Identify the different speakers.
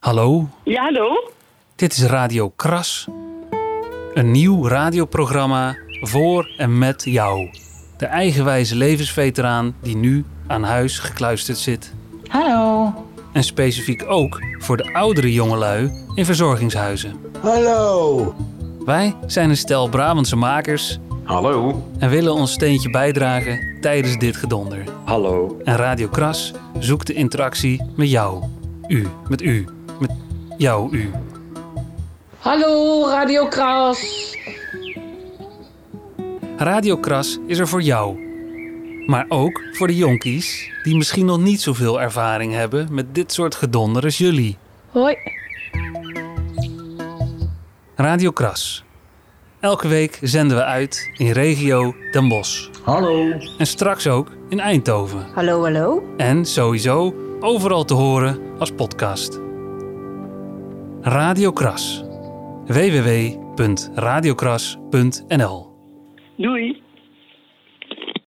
Speaker 1: Hallo,
Speaker 2: Ja, hallo?
Speaker 1: dit is Radio Kras. Een nieuw radioprogramma voor en met jou. De eigenwijze levensveteraan die nu aan huis gekluisterd zit.
Speaker 3: Hallo.
Speaker 1: En specifiek ook voor de oudere jongelui in verzorgingshuizen.
Speaker 4: Hallo.
Speaker 1: Wij zijn een stel Brabantse makers
Speaker 4: Hallo.
Speaker 1: en willen ons steentje bijdragen tijdens dit gedonder.
Speaker 4: Hallo.
Speaker 1: En Radio Kras zoekt de interactie met jou. U, met u, met jou, u.
Speaker 5: Hallo, Radio Kras.
Speaker 1: Radio Kras is er voor jou. Maar ook voor de jonkies die misschien nog niet zoveel ervaring hebben met dit soort gedonder als jullie.
Speaker 5: Hoi.
Speaker 1: Radio Kras. Elke week zenden we uit in regio Den Bosch.
Speaker 4: Hallo.
Speaker 1: En straks ook in Eindhoven.
Speaker 6: Hallo, hallo.
Speaker 1: En sowieso overal te horen als podcast. Radio Kras. www.radiokras.nl
Speaker 2: Doei.